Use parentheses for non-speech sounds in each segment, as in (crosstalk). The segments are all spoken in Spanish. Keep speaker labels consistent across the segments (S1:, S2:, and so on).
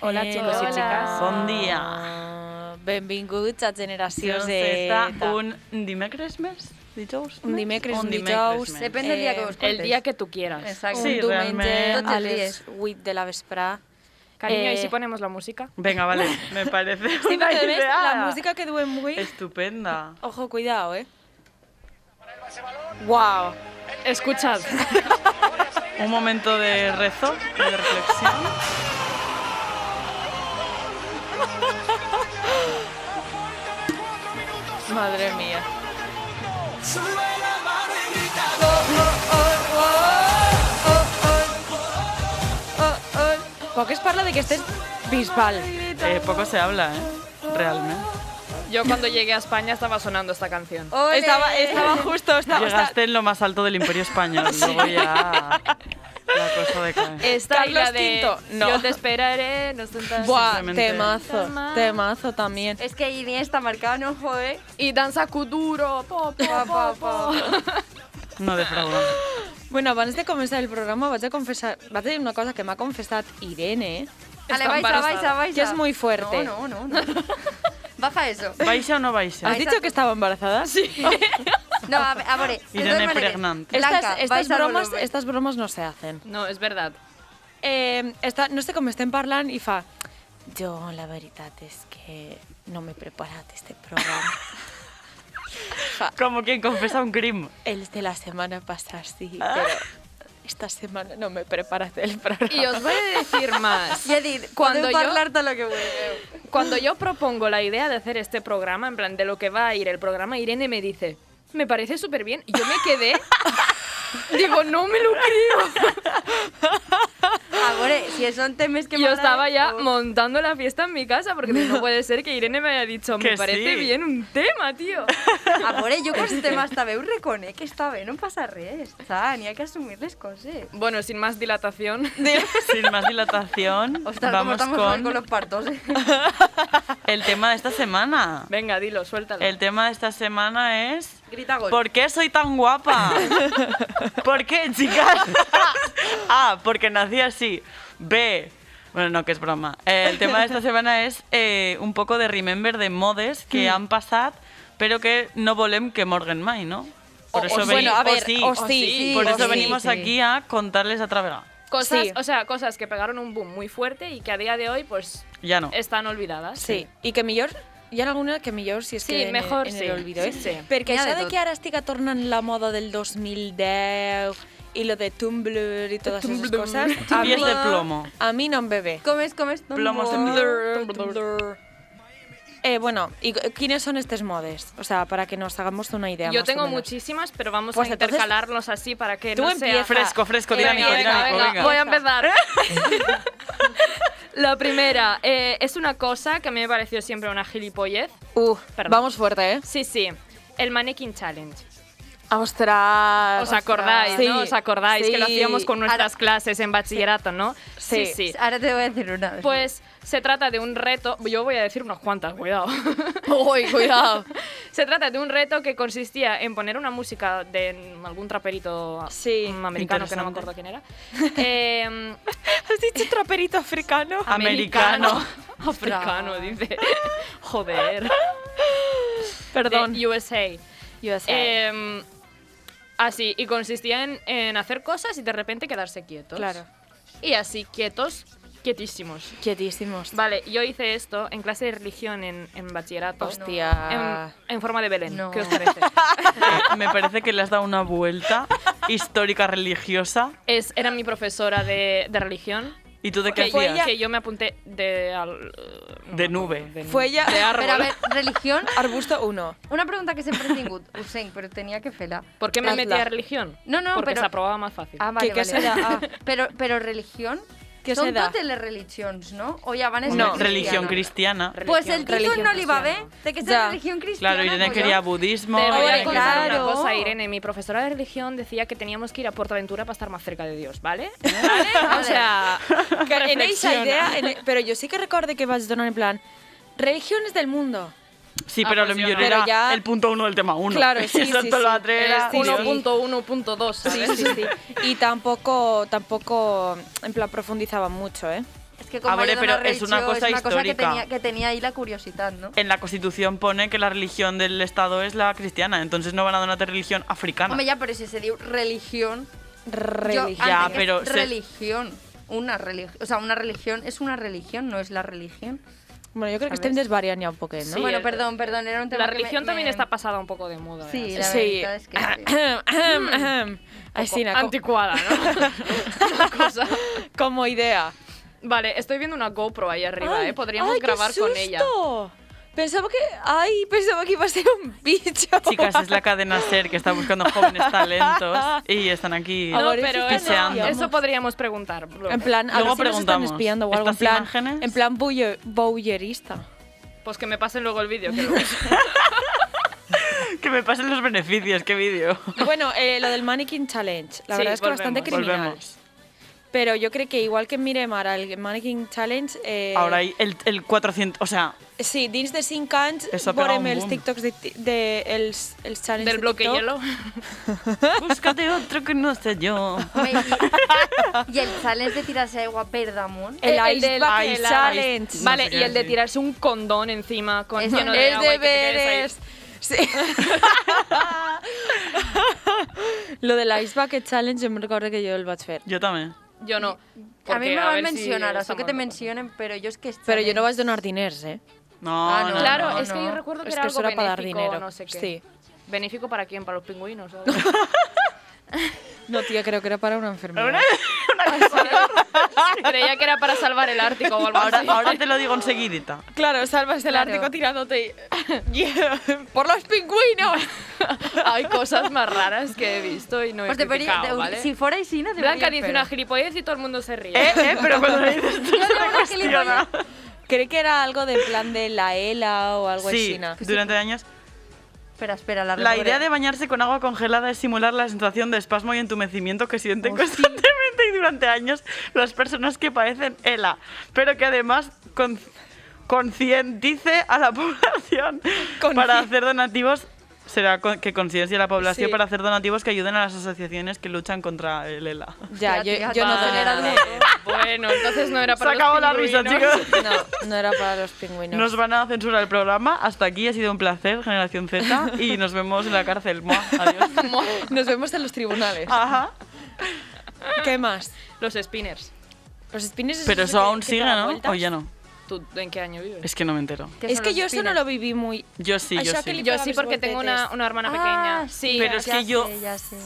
S1: Hola, chicos y
S2: Eh, Hola.
S1: chicas.
S3: Bon dia.
S2: Benvinguts a Generació
S3: Doncs
S2: Z.
S3: està un dimecres més? Dijous?
S2: Un
S3: més?
S2: dimecres, un dijous.
S3: més.
S4: Depèn del dia que ho
S1: El
S4: escoltes.
S1: día que tú quieras.
S3: Exacte.
S2: un
S3: Sí,
S2: diumenge
S3: realment.
S4: Tot
S2: a
S4: el dia.
S2: les 8 de la
S3: (laughs)
S2: vesprà.
S1: Cariño, ¿y
S2: Eh,
S1: si ponemos la música?
S3: Venga, vale,
S2: (laughs)
S3: me parece
S2: Sí,
S3: una
S2: perquè a més,
S3: idea
S2: la música que duem avui...
S3: Estupenda.
S2: Ojo, cuidao, eh? Wow.
S1: (laughs) Escuchad.
S3: Un momento de rezo, de reflexión.
S2: Madre mía. Poc es parla de que estés bisbal.
S3: Eh, poco se habla, ¿eh?
S2: (laughs)
S3: Realmente.
S1: Yo cuando llegué a España estaba sonando esta canción.
S4: Ole.
S2: Estaba, estaba justo, estaba,
S3: Llegaste en lo más alto del Imperio Español.
S2: (laughs)
S3: Luego ya la cosa
S2: Eh,
S3: decae.
S1: Esta y la
S2: Carlos
S1: de
S2: V, no.
S1: Yo te esperaré, no (laughs) sentarás.
S2: Buah,
S3: Simplemente-
S2: temazo, temazo también.
S4: Es que Iniesta marcado, no joder.
S1: Y danza Kuduro. Po, po,
S4: Pa, pa, pa.
S3: No defrauda.
S2: Bueno, abans de començar el programa vaig a confessar, vaig a dir una cosa que m'ha confessat Irene,
S4: Ale,
S1: Está
S4: baixa,
S1: embarazada.
S4: baixa, baixa.
S2: que es muy fuerte.
S4: No, no, no. no. (laughs) Baja eso.
S3: ¿Baixa o no eh? baixa?
S2: ¿Has dicho que estaba embarazada? Sí.
S4: No, a, ver, a ver. de
S3: Irene
S4: todas maneras.
S3: pregnante.
S2: Estas,
S4: Blanca,
S2: estas,
S4: baixa el
S2: bromes,
S4: volumen.
S2: estas bromes no se hacen.
S1: No, és verdad.
S2: Eh, esta, no sé com estem parlant i fa... Jo, la veritat és que no m'he preparat este (laughs) programa.
S3: Como quien confesa un crim.
S2: Els de la setmana passada sí, però esta setmana no m'he preparat el programa.
S1: Y os voy a (laughs) decir más.
S4: Y
S1: Cuando
S4: Edith, cuando
S1: yo-
S4: hablar todo lo que vuelve.
S1: Cuando yo propongo la idea de hacer este programa, en plan de lo que va a ir el programa, Irene me dice, me parece súper bien. Yo me quedé. (laughs) Digo, no me lo creo.
S4: Ahora, si son temes que
S1: Yo
S4: molan,
S1: estaba ya
S4: oh.
S1: montando la fiesta en mi casa porque digo,
S2: (laughs)
S1: no puede ser que Irene me haya dicho, me
S3: Que
S1: parece
S3: sí.
S1: bien un tema,
S2: (laughs)
S1: tío.
S4: Ahora, yo con este tema hasta veu reconec que esta vez no pasa res, está, ni hay que asumirles cosas.
S1: Bueno, sin más dilatación.
S3: Sin más
S2: (laughs)
S3: dilatación,
S4: Ostras, cómo
S3: vamos
S4: estamos mal con
S3: con
S4: los partos. (laughs) eh.
S3: el tema de esta semana.
S1: (laughs) Venga, dilo, suéltalo.
S3: El tema de esta semana es...
S4: Grita gol.
S3: ¿Por qué soy
S2: (laughs)
S3: tan guapa? ¿Por qué, chicas? A, porque nací así. B, bueno, no, que es broma. Eh, el tema
S2: (laughs)
S3: de esta semana es eh, un poco de remember de modes que
S2: Hmm.
S3: han pasado, pero que no volem que morguen mai, ¿no?
S2: O-
S3: eso
S2: o
S3: veni-
S2: bueno, a
S3: o
S2: ver,
S3: sí,
S2: o sí, sí,
S3: por
S2: o
S3: eso
S2: sí,
S3: venimos
S2: sí.
S3: aquí a contarles a través.
S1: Cosas,
S2: Sí.
S1: o sea, cosas que pegaron un boom muy fuerte y que a día de hoy, pues,
S3: Ya no.
S1: están olvidadas.
S2: Sí, i que millor... Hi ha alguna que millor si es
S1: Sí,
S2: queda en,
S1: mejor
S2: en
S1: sí.
S2: l'olvido, eh?
S1: Sí, sí.
S2: Perquè
S4: N'hi ha
S2: això
S4: de
S2: de
S4: tot.
S2: que ara estiga tornant la moda del 2010 i lo de Tumblr i totes aquestes
S1: Tumblr.
S2: coses... a
S3: Pies
S2: mi-
S3: de plomo.
S2: A mi no em ve bé.
S4: Comes, comes,
S3: Plomos de
S4: tombó.
S3: Tumblr,
S2: Eh, bueno, ¿y cu- quiénes son estos modes? O sea, para que nos hagamos una idea.
S1: Yo
S2: más o
S1: tengo
S2: menos.
S1: muchísimas, pero vamos
S2: Pues
S1: a
S2: entonces-
S1: intercalarlos así para que
S2: Tú
S1: no
S2: empieza.
S1: sea...
S3: Fresco, fresco,
S1: Venga,
S3: dinámico,
S1: venga,
S3: dinámico,
S1: venga.
S3: venga.
S1: Voy a empezar. (laughs) La primera eh, es una cosa que a mí me pareció siempre una gilipollez.
S2: Uh,
S1: Perdón.
S2: vamos fuerte, ¿eh?
S1: Sí, sí. El mannequin challenge.
S2: ¡Ostras!
S1: ¿Os acordáis,
S2: Sí.
S1: no? ¿Os acordáis que lo
S2: Sí.
S1: hacíamos
S2: (laughs)
S1: con nuestras clases en bachillerato, no?
S2: Sí.
S1: sí.
S4: Ahora te voy a decir una.
S1: Pues se trata de un reto, yo voy a decir unas cuantas, cuidado. (laughs)
S2: Uy, cuidado.
S1: se trata de un reto que consistía en poner una música de algún traperito
S2: Sí.
S1: mm, americano, que no me
S3: Interesante.
S1: acuerdo quién era. (laughs)
S2: (laughs)
S1: Eh,
S2: Has dicho traperito africano.
S3: (laughs)
S2: (laughs)
S3: Americano.
S1: Africano, dice. (laughs) Joder.
S2: Perdón.
S1: De USA.
S2: (laughs) Yo
S1: Eh, así, y consistía en, en hacer cosas y de repente quedarse quietos.
S2: Claro.
S1: Y así, quietos, quietísimos.
S2: Quietísimos.
S1: Vale, yo hice esto en clase de religión en, en bachillerato.
S2: Hostia.
S1: En, en forma de Belén.
S4: No.
S1: ¿Qué os
S4: (laughs)
S1: parece?
S3: Eh, (laughs) me parece que le has dado una vuelta histórica religiosa.
S1: Es, era mi profesora de, de religión.
S3: ¿Y tú de qué
S1: Que,
S2: fue ella?
S3: hacías?
S1: que yo me apunté de... al- no
S3: De
S1: me acuerdo,
S3: nube.
S1: de
S2: Fue ella.
S1: De árbol.
S4: Pero a ver, religión.
S2: Arbusto 1.
S4: Una pregunta que siempre he tingut, (laughs) Usain, pero tenía que fela.
S1: ¿Por qué me
S2: Hazla.
S1: metí a religión?
S4: No, no,
S1: Porque
S4: pero-
S1: se aprobaba más fácil.
S4: Ah, vale,
S2: Que- que
S4: vale.
S2: serà, ah.
S4: (laughs) Pero, pero religión.
S2: Que
S4: Son
S2: serà.
S4: todas las religiones, ¿no? O ya van a ser
S3: Una
S2: No.
S3: religión cristiana.
S4: Pues el título
S2: Religión
S4: no le iba a ver.
S1: cristiana.
S4: De que es
S2: Ya.
S4: religión cristiana.
S3: Claro, Irene
S4: no,
S3: quería
S4: yo-
S3: budismo.
S1: Te voy a
S3: Irene
S4: Hombre,
S1: contar
S4: claro.
S1: una cosa, Irene. Mi profesora de religión decía que teníamos que ir a Portaventura para estar más cerca de Dios, ¿vale? ¿Vale? (laughs) O sea,
S2: (laughs) En esa
S1: reflexiona.
S2: idea, en- e- pero yo sí que recuerdo que vas a donar en plan religiones del mundo.
S3: Sí, pero
S1: Ah,
S3: lo
S1: pues yo
S3: mejor
S1: no.
S3: era
S2: Pero ya-
S3: el punto uno del tema uno. (laughs)
S2: Claro, sí,
S3: Eso
S2: sí,
S3: todo lo
S2: sí.
S3: otro
S1: Eh,
S3: era-
S2: Sí, sí.
S1: 1.1.2, ¿sabes?
S2: Y tampoco, tampoco, en plan, profundizaba mucho, ¿eh?
S4: Es que com
S3: A veure,
S4: ahir
S3: però
S4: dona
S3: és una
S4: religió,
S3: cosa
S4: és una cosa que
S3: històrica.
S4: tenia, que tenia ahí la curiositat, no?
S3: En la Constitución pone que la religión del Estado es la cristiana, entonces no van a donarte religión africana.
S4: Home, ja, però si se diu religión...
S2: Religión.
S3: Ya,
S4: antes que
S3: pero se-
S4: Religión. Una religión. O sea, una religión es una religión, no es la religión.
S2: Bueno, yo creo que estem desvariant ja un poquet, no?
S1: Sí,
S3: eh,
S4: bueno,
S1: el-
S4: perdón, perdón, era un tema
S1: La
S4: que me-
S1: religión
S4: me-
S1: también está pasada un poco de moda. ¿eh?
S4: Sí,
S1: Así,
S4: la
S2: sí.
S4: veritat és que sí.
S2: Aixina, com,
S1: Anticuada, ¿no?
S2: (laughs)
S1: (laughs) Una cosa.
S2: como idea.
S1: Vale, estoy viendo una GoPro ahí arriba,
S2: Ay,
S1: ¿eh? Podríamos
S2: ay, qué
S1: grabar con ella.
S2: susto. Pensaba que... Ay, pensaba que iba a ser un bicho.
S3: Chicas,
S2: (laughs)
S3: es la cadena SER que está buscando jóvenes talentos y
S1: (laughs)
S3: están aquí.
S1: No,
S2: Ahora
S1: pero
S2: sí que
S1: eso,
S3: no.
S1: eso podríamos preguntar. luego.
S2: En plan, a
S3: Luego
S2: ver si nos están
S3: preguntamos,
S2: espiando o algo. En
S3: ¿estas
S2: plan,
S3: imágenes?
S2: en plan bouye- voyeurista.
S1: Pues que me pasen luego el vídeo.
S2: (laughs)
S1: que lo-
S3: Que me pasen los beneficios, qué vídeo.
S2: Bueno, eh, lo del Mannequin Challenge. La
S1: Sí,
S2: verdad es que
S1: volvemos.
S2: bastante criminal.
S3: Volvemos.
S2: Pero yo creo que igual que mirem ara el Mannequin Challenge... Eh,
S3: Ahora hay el, el 400, o sea,
S2: Sí, dins de 5 anys
S3: Eso ha pegado
S2: veurem
S3: un
S2: els
S3: boom.
S2: TikToks de, ti- de els, els challenges
S1: Del
S2: de
S1: bloque
S2: TikTok.
S1: hielo.
S3: búscate otro que no sé yo.
S4: (laughs) Home, i, I el challenge de tirar-se aigua per damunt...
S2: El
S1: Eh,
S2: Ice
S1: del-
S2: Bucket
S1: el-
S2: Challenge.
S3: No
S1: Vale,
S3: sé qué
S1: y el de
S3: decir.
S1: tirarse un condón encima con
S4: Eso
S1: lleno
S4: no.
S1: de
S2: es
S1: agua y que te quedes ahí.
S2: deberes. Sí. (laughs) Lo del Ice Bucket Challenge, yo me recuerdo que yo el vaig fer.
S3: Yo también.
S1: Yo no.
S4: a
S1: porque
S4: mi me
S1: a
S4: van
S1: ver si
S4: mencionar, això
S1: estamos
S4: que te
S1: locos.
S4: mencionen, però jo és que...
S2: Però jo no vaig donar diners, eh?
S3: No,
S4: Ah, no.
S3: no, no.
S1: Claro,
S4: no,
S1: es que
S4: no.
S1: yo recuerdo que
S2: Es
S1: era
S2: que
S1: algo
S2: eso era para dar
S1: benéfico,
S2: dinero.
S1: no sé qué.
S2: Sí.
S1: ¿Benéfico para quién? ¿Para los pingüinos?
S2: (laughs)
S1: o algo?
S2: No, tía, creo que era para una enfermedad.
S1: (laughs) Creía que era para salvar el Ártico o algo
S3: Ahora,
S1: así. (laughs)
S3: ahora te lo digo enseguidita.
S2: Claro, salvas el
S4: Claro.
S2: Ártico tirándote (laughs) Yeah, por los (laughs) pingüinos.
S1: Hay cosas más raras que he visto y no he
S4: Pues deberia,
S1: criticado,
S4: de,
S1: ¿vale?
S4: Si fora així, no deberia...
S1: Blanca dice
S4: fer-ho.
S1: una gilipollez y todo el mundo se ríe.
S3: (laughs) Eh, eh, pero cuando le dices (laughs) tú
S4: (laughs) Yo
S3: se
S4: digo
S3: te
S4: una
S3: cuestiona.
S2: Creo que era algo de plan de la ELA o algo
S3: Sí,
S2: así. ¿no?
S3: durante años.
S4: Espera, espera, la
S3: La
S4: recorre-
S3: idea de bañarse con agua congelada es simular la sensación de espasmo y entumecimiento que sienten constantemente y durante años las personas que padecen ELA, pero que además con- concientice a la (laughs) población
S2: Conci-
S3: para hacer donativos. Será con- que conciencie a la población
S2: Sí.
S3: para hacer donativos que ayuden a las asociaciones que luchan contra el ELA.
S2: Ya, yo,
S4: Hostia, tía,
S2: yo no
S4: tía,
S2: tenía
S4: tía.
S2: nada.
S1: Ah, Bueno, entonces no era
S3: Se
S1: para los
S3: acabó la risa,
S1: pingüinos. (laughs)
S3: chicos.
S2: No, no era para los pingüinos.
S3: Nos van a censurar el programa. Hasta aquí ha sido un placer, Generación Z, y nos vemos en la cárcel. Mua, Adiós.
S2: Nos vemos en los tribunales.
S3: Ajá.
S2: ¿Qué más?
S1: Los spinners.
S2: Los spinnes
S3: Pero
S2: esos
S3: eso
S2: que te-
S3: aún
S2: que te
S3: sigue,
S2: dan
S3: ¿no?
S2: vueltas.
S3: O ya no.
S1: ¿Tú en qué año vives?
S3: Es que no me entero.
S4: Que
S2: Es
S4: son
S2: que
S4: los
S2: yo eso no
S4: pines.
S2: lo viví muy...
S3: Yo sí,
S2: Ay,
S3: yo
S2: ya que
S3: sí.
S2: le-
S1: Yo
S2: pegabas
S1: sí porque tengo una,
S2: voltetes.
S1: una hermana
S4: Ah,
S1: pequeña. Sí,
S3: Pero es
S4: ya
S3: que yo-
S4: sé, ya
S3: (laughs)
S4: sé.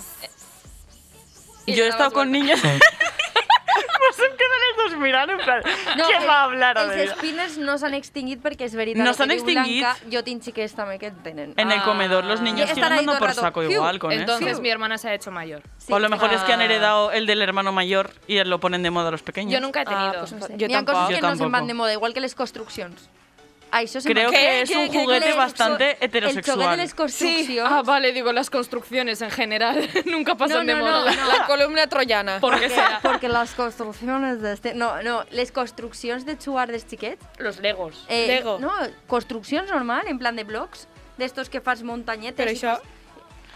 S1: Y
S3: Yo he
S1: le
S3: estado
S1: dabas
S3: con niños. Pues em quedan els dos mirant, en plan, què
S4: el-
S3: va a hablar
S4: els
S3: avui?
S4: spinners no s'han extingit perquè és veritat.
S3: No
S4: el que
S3: s'han
S4: diu
S3: extingit.
S4: Blanca, jo tinc xiquets també que en tenen.
S3: En el
S1: Ah.
S3: comedor los niños
S4: Están
S3: siguen
S4: ahí
S3: dando
S4: todo
S3: por
S4: el rato.
S3: saco
S4: Fiu.
S3: igual con
S1: Entonces
S3: eso.
S1: mi hermana se ha hecho mayor.
S3: O a lo mejor es que han
S2: Ah.
S3: heredado el del hermano mayor y lo ponen de moda a los pequeños.
S1: Yo nunca he tenido.
S2: pues
S4: Ah, No sé.
S2: Jo
S4: N'hi ha
S2: tampoc.
S4: coses que
S3: Jo
S4: no se'n van
S3: tampoc.
S4: de moda, igual que Ah, les construccions. Això se'n
S3: Creo
S4: van-
S3: que es
S2: ¿Qué?
S3: un
S2: ¿Qué? ¿Qué?
S3: juguete
S4: Les-
S3: bastante
S4: El xoguet de
S3: heterosexual.
S4: les construccions...
S1: Ah, vale, digo, las construcciones en general (laughs) nunca pasan
S4: No,
S1: de
S4: no,
S1: moda.
S4: no.
S2: La columna troyana.
S1: (laughs)
S4: (laughs)
S1: Porque sea.
S4: Perquè les construccions d'este... No, no, les construccions de xuar dels xiquets...
S1: Los legos.
S4: Eh,
S2: Lego.
S4: No, construccions normal, en plan de blocs, d'estos que fas muntanyetes...
S2: Però
S4: i
S2: això-
S4: fas-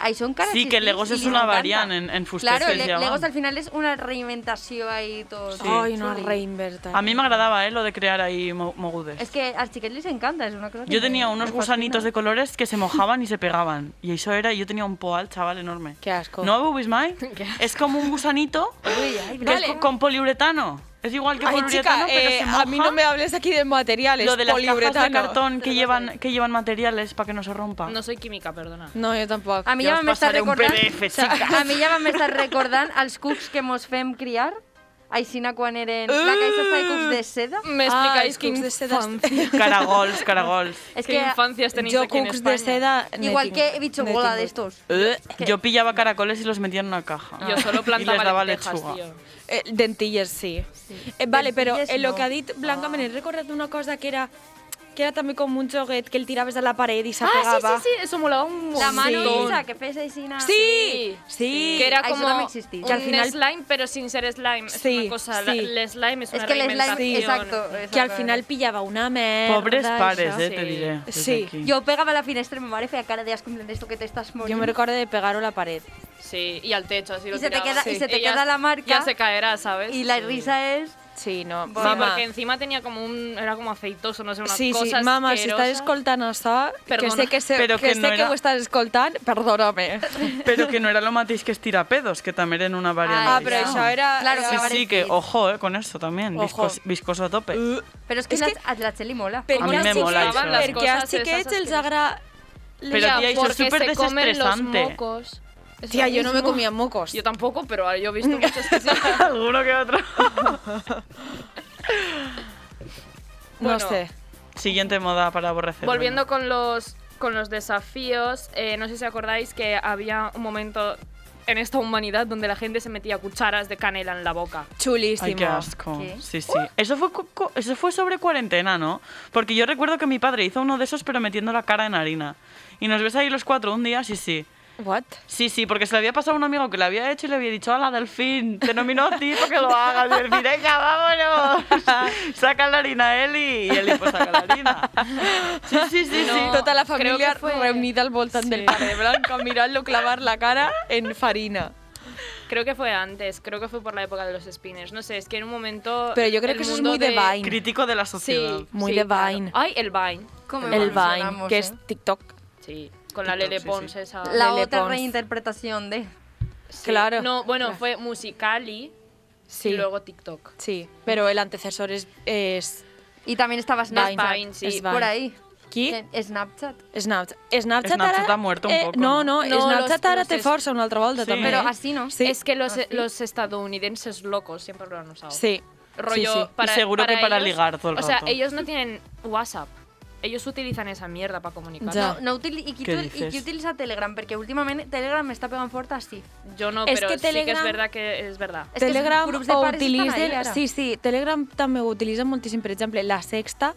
S4: Això encara
S3: Sí,
S4: existeix
S3: que Legos
S4: i
S3: es
S4: li
S3: una
S4: encanta.
S3: variant en- en fusters
S4: Claro,
S3: que
S4: le-
S3: se llaman.
S4: Legos al final es una reinventació ahí todo.
S3: Sí.
S2: Ay, no,
S4: chuli.
S2: reinvertar.
S3: A mí me agradaba eh, lo de crear ahí mo- mogudes.
S4: Es que al chiquet les encanta, es una cosa que
S3: Yo
S4: me-
S3: tenía
S4: me
S3: unos
S4: fascina.
S3: gusanitos de colores que se mojaban y se pegaban. Y eso era, yo tenía un poal, chaval, enorme.
S2: Qué asco.
S3: ¿No
S2: (laughs)
S3: bubis mai?
S1: Qué asco.
S3: Es como un gusanito
S4: Uy, ay,
S3: que
S4: Blanca.
S3: es co- con poliuretano. Es igual que
S2: Ay,
S3: poliuretano,
S2: chica,
S3: pero
S2: eh,
S3: se moja.
S2: a mí no me hables aquí de materiales.
S3: Lo de las cajas de
S2: poliuretano.
S3: cartón que
S4: Pero
S3: llevan, que llevan materiales para que no se rompa.
S1: No soy química, perdona.
S2: No, yo tampoco.
S4: A mi
S3: Ya
S4: ja
S3: os
S4: vam estar
S3: pasaré un
S4: recordant...
S3: PDF,
S4: o sea, a mi ja vam estar recordant els cucs que mos fem criar, aixina quan eren... La caixa està de cucs de seda.
S1: ¿Me
S2: Ah,
S1: explicáis
S2: es
S1: qué
S2: cucs de seda. (laughs)
S1: infancia?
S3: Caragols, caragols.
S4: És
S1: ¿Qué
S4: que
S1: infancias tenéis
S2: Yo
S1: aquí en
S2: cooks de seda.
S1: España?
S4: igual que bichogola
S2: de esto.
S4: d'estos.
S3: Eh, Yo pillaba caracoles y los metía en una caja.
S1: Yo solo
S3: y les
S1: plantaba
S3: daba
S1: lentejas,
S3: lechuga.
S1: tío.
S2: Eh, dentilles, sí. Ah. Eh, vale, però
S4: Dentilles
S2: el
S4: no.
S2: que ha dit Blanca me n'he recordat una cosa que era que era també com un joguet que el tiraves a la paret i
S1: Ah,
S2: s'apagava.
S1: sí, sí, sí, eso molaba un montón.
S4: La mano
S2: Sí.
S4: lisa, que fes aixina...
S3: Ah,
S2: Sí, sí.
S1: Que era
S4: Ay, eso
S1: como
S4: también existía.
S1: un
S2: Que al final-
S1: slime, pero sin ser slime. es
S2: Sí,
S1: una cosa,
S2: sí.
S1: la- el slime es
S4: És
S1: una
S4: que el slime...
S1: reinventación.
S4: Exacto.
S2: Que al final pillava una merda.
S3: Pobres
S2: això.
S3: pares, eh, te
S1: Sí.
S3: diré. desde
S2: Sí.
S3: aquí.
S4: Jo pegava a la finestra i ma mare feia cara de asco, en plan, d'esto que te estás
S2: Jo me
S4: morindo.
S2: recordo de pegar-ho a la paret.
S1: Sí, y al techo, así lo
S4: Y se te
S1: tirabas.
S4: queda- y
S1: Sí.
S4: se te
S1: ya-
S4: queda la marca.
S1: Ya se caerá, ¿sabes?
S4: I la
S1: Sí.
S4: risa és...
S2: Sí, no.
S1: Sí,
S2: Mama.
S1: porque encima tenía como un... Era como aceitoso, no sé, una
S2: Sí,
S1: cosa
S2: sí, mama, si estàs
S1: asquerosa.
S2: escoltant això, que
S1: Perdona.
S2: sé que, sé,
S3: Però
S2: que,
S3: que
S2: sé
S3: no
S2: que
S3: era-
S2: ho estàs escoltant,
S3: (laughs)
S2: perdona-me.
S3: Pero que no era lo matiz que estirapedos, que también era una variante.
S2: Ah, pero eso era...
S4: Claro,
S3: Sí,
S4: claro.
S3: sí, que ojo, eh, con eso también.
S2: Ojo.
S3: Viscos- viscoso a tope.
S1: Uh.
S4: Però és que,
S2: És
S4: és
S2: que-
S4: que... A la Txeli mola.
S2: Per
S3: A mi
S2: què
S3: me
S2: als
S3: mola
S2: Uh, xiquets-
S3: això.
S2: Per què als
S1: Les coses
S2: xiquets
S1: esas
S2: els
S1: que-
S2: agrada...
S3: Pero,
S1: Ya,
S3: tía, eso es
S1: porque
S3: súper
S1: se comen los
S3: desestresante.
S1: mocos. Eso
S2: Tía, yo no me
S1: mismo.
S2: comía mocos.
S1: Yo tampoco, pero ah, yo he visto muchos que sí.
S3: (laughs) Alguno que otro. (laughs)
S2: No
S1: Bueno,
S2: sé.
S3: Siguiente moda para aborrecer.
S1: Volviendo
S3: venga.
S1: con los, con los desafíos, eh, no sé si acordáis que había un momento en esta humanidad donde la gente se metía cucharas de canela en la boca.
S3: Ay, qué
S2: Chulísimo.
S3: asco.
S4: ¿Qué?
S3: Sí, sí. Eso fue, cu- cu- eso fue sobre cuarentena, ¿no? Porque yo recuerdo que mi padre hizo uno de esos, pero metiendo la cara en harina. Y nos ves ahí los cuatro un día, sí, sí.
S2: What?
S3: Sí, sí, porque se le había pasado a un amigo que lo había hecho y le había dicho, la Delfín, te nomino a ti para que lo hagas. Y Delfín,
S1: (laughs)
S3: venga, vámonos. Saca la harina, Eli. Y Eli, pues saca la harina. Sí, sí, sí, sí.
S1: No,
S2: Tota la
S1: creo
S2: família
S1: que fue-
S2: reunida al voltant del par de blanco, mirant-lo clavar la cara en farina.
S1: Creo que fue antes, creo que fue por la época de los spinners. No sé, es que en un momento.
S2: Pero yo creo
S1: el
S2: que eso es
S1: mundo
S2: muy de Vine.
S3: Crítico de la sociedad.
S1: Sí,
S2: Muy
S1: sí,
S2: de
S1: claro.
S2: Vine.
S1: Ay, el Vine.
S4: Com
S2: El Vine,
S4: evolucionamos,
S2: que
S4: eh?
S2: es TikTok.
S1: Sí, con la
S3: TikTok,
S1: Lele
S3: sí,
S1: Pons
S3: sí.
S1: esa.
S4: La
S2: Lele
S4: otra
S2: Pons.
S4: reinterpretación de...
S1: Sí.
S2: Claro.
S1: No, bueno, fue Musicali
S2: Sí,
S1: y luego TikTok.
S2: sí. Pero el antecesor es... es
S4: Y también estaba Snapchat.
S1: Vine, sí.
S2: es
S4: Por ahí.
S2: Qui?
S4: Que- Snapchat.
S2: Snapchat. Snapchat,
S3: Snapchat
S2: ara-
S3: ha muerto un
S2: eh,
S3: poco,
S2: No, no,
S3: ¿no?
S1: No,
S2: Snapchat
S1: los
S2: ahora te
S1: cruces.
S2: força una altra volta
S3: Sí.
S2: també.
S4: Pero
S2: eh?
S4: así no.
S2: Sí.
S1: Es que
S3: Ah,
S1: los, los estadounidenses locos siempre lo han usado.
S2: Sí.
S1: rollo
S2: Sí, sí.
S1: para
S3: Y seguro que para
S1: ellos-
S3: ligar todo el
S1: O sea,
S3: rato.
S1: ellos no tienen WhatsApp. Ellos utilizan esa mierda para comunicar.
S2: Ya.
S4: No, no utili- i, qui
S3: Què
S4: tu- I
S3: dices?
S4: qui utilitza Telegram? Perquè últimament Telegram m'està pegant fort així.
S1: Yo no,
S2: Es
S1: pero
S2: que
S1: sí que
S2: Telegram-
S1: es verdad que es verdad.
S4: És que els
S2: Telegram
S4: grups de
S2: ho
S4: pares estan ahí,
S2: utilitzen...
S4: ara.
S2: Sí, sí, Telegram també ho utilitza moltíssim. Per exemple, la Sexta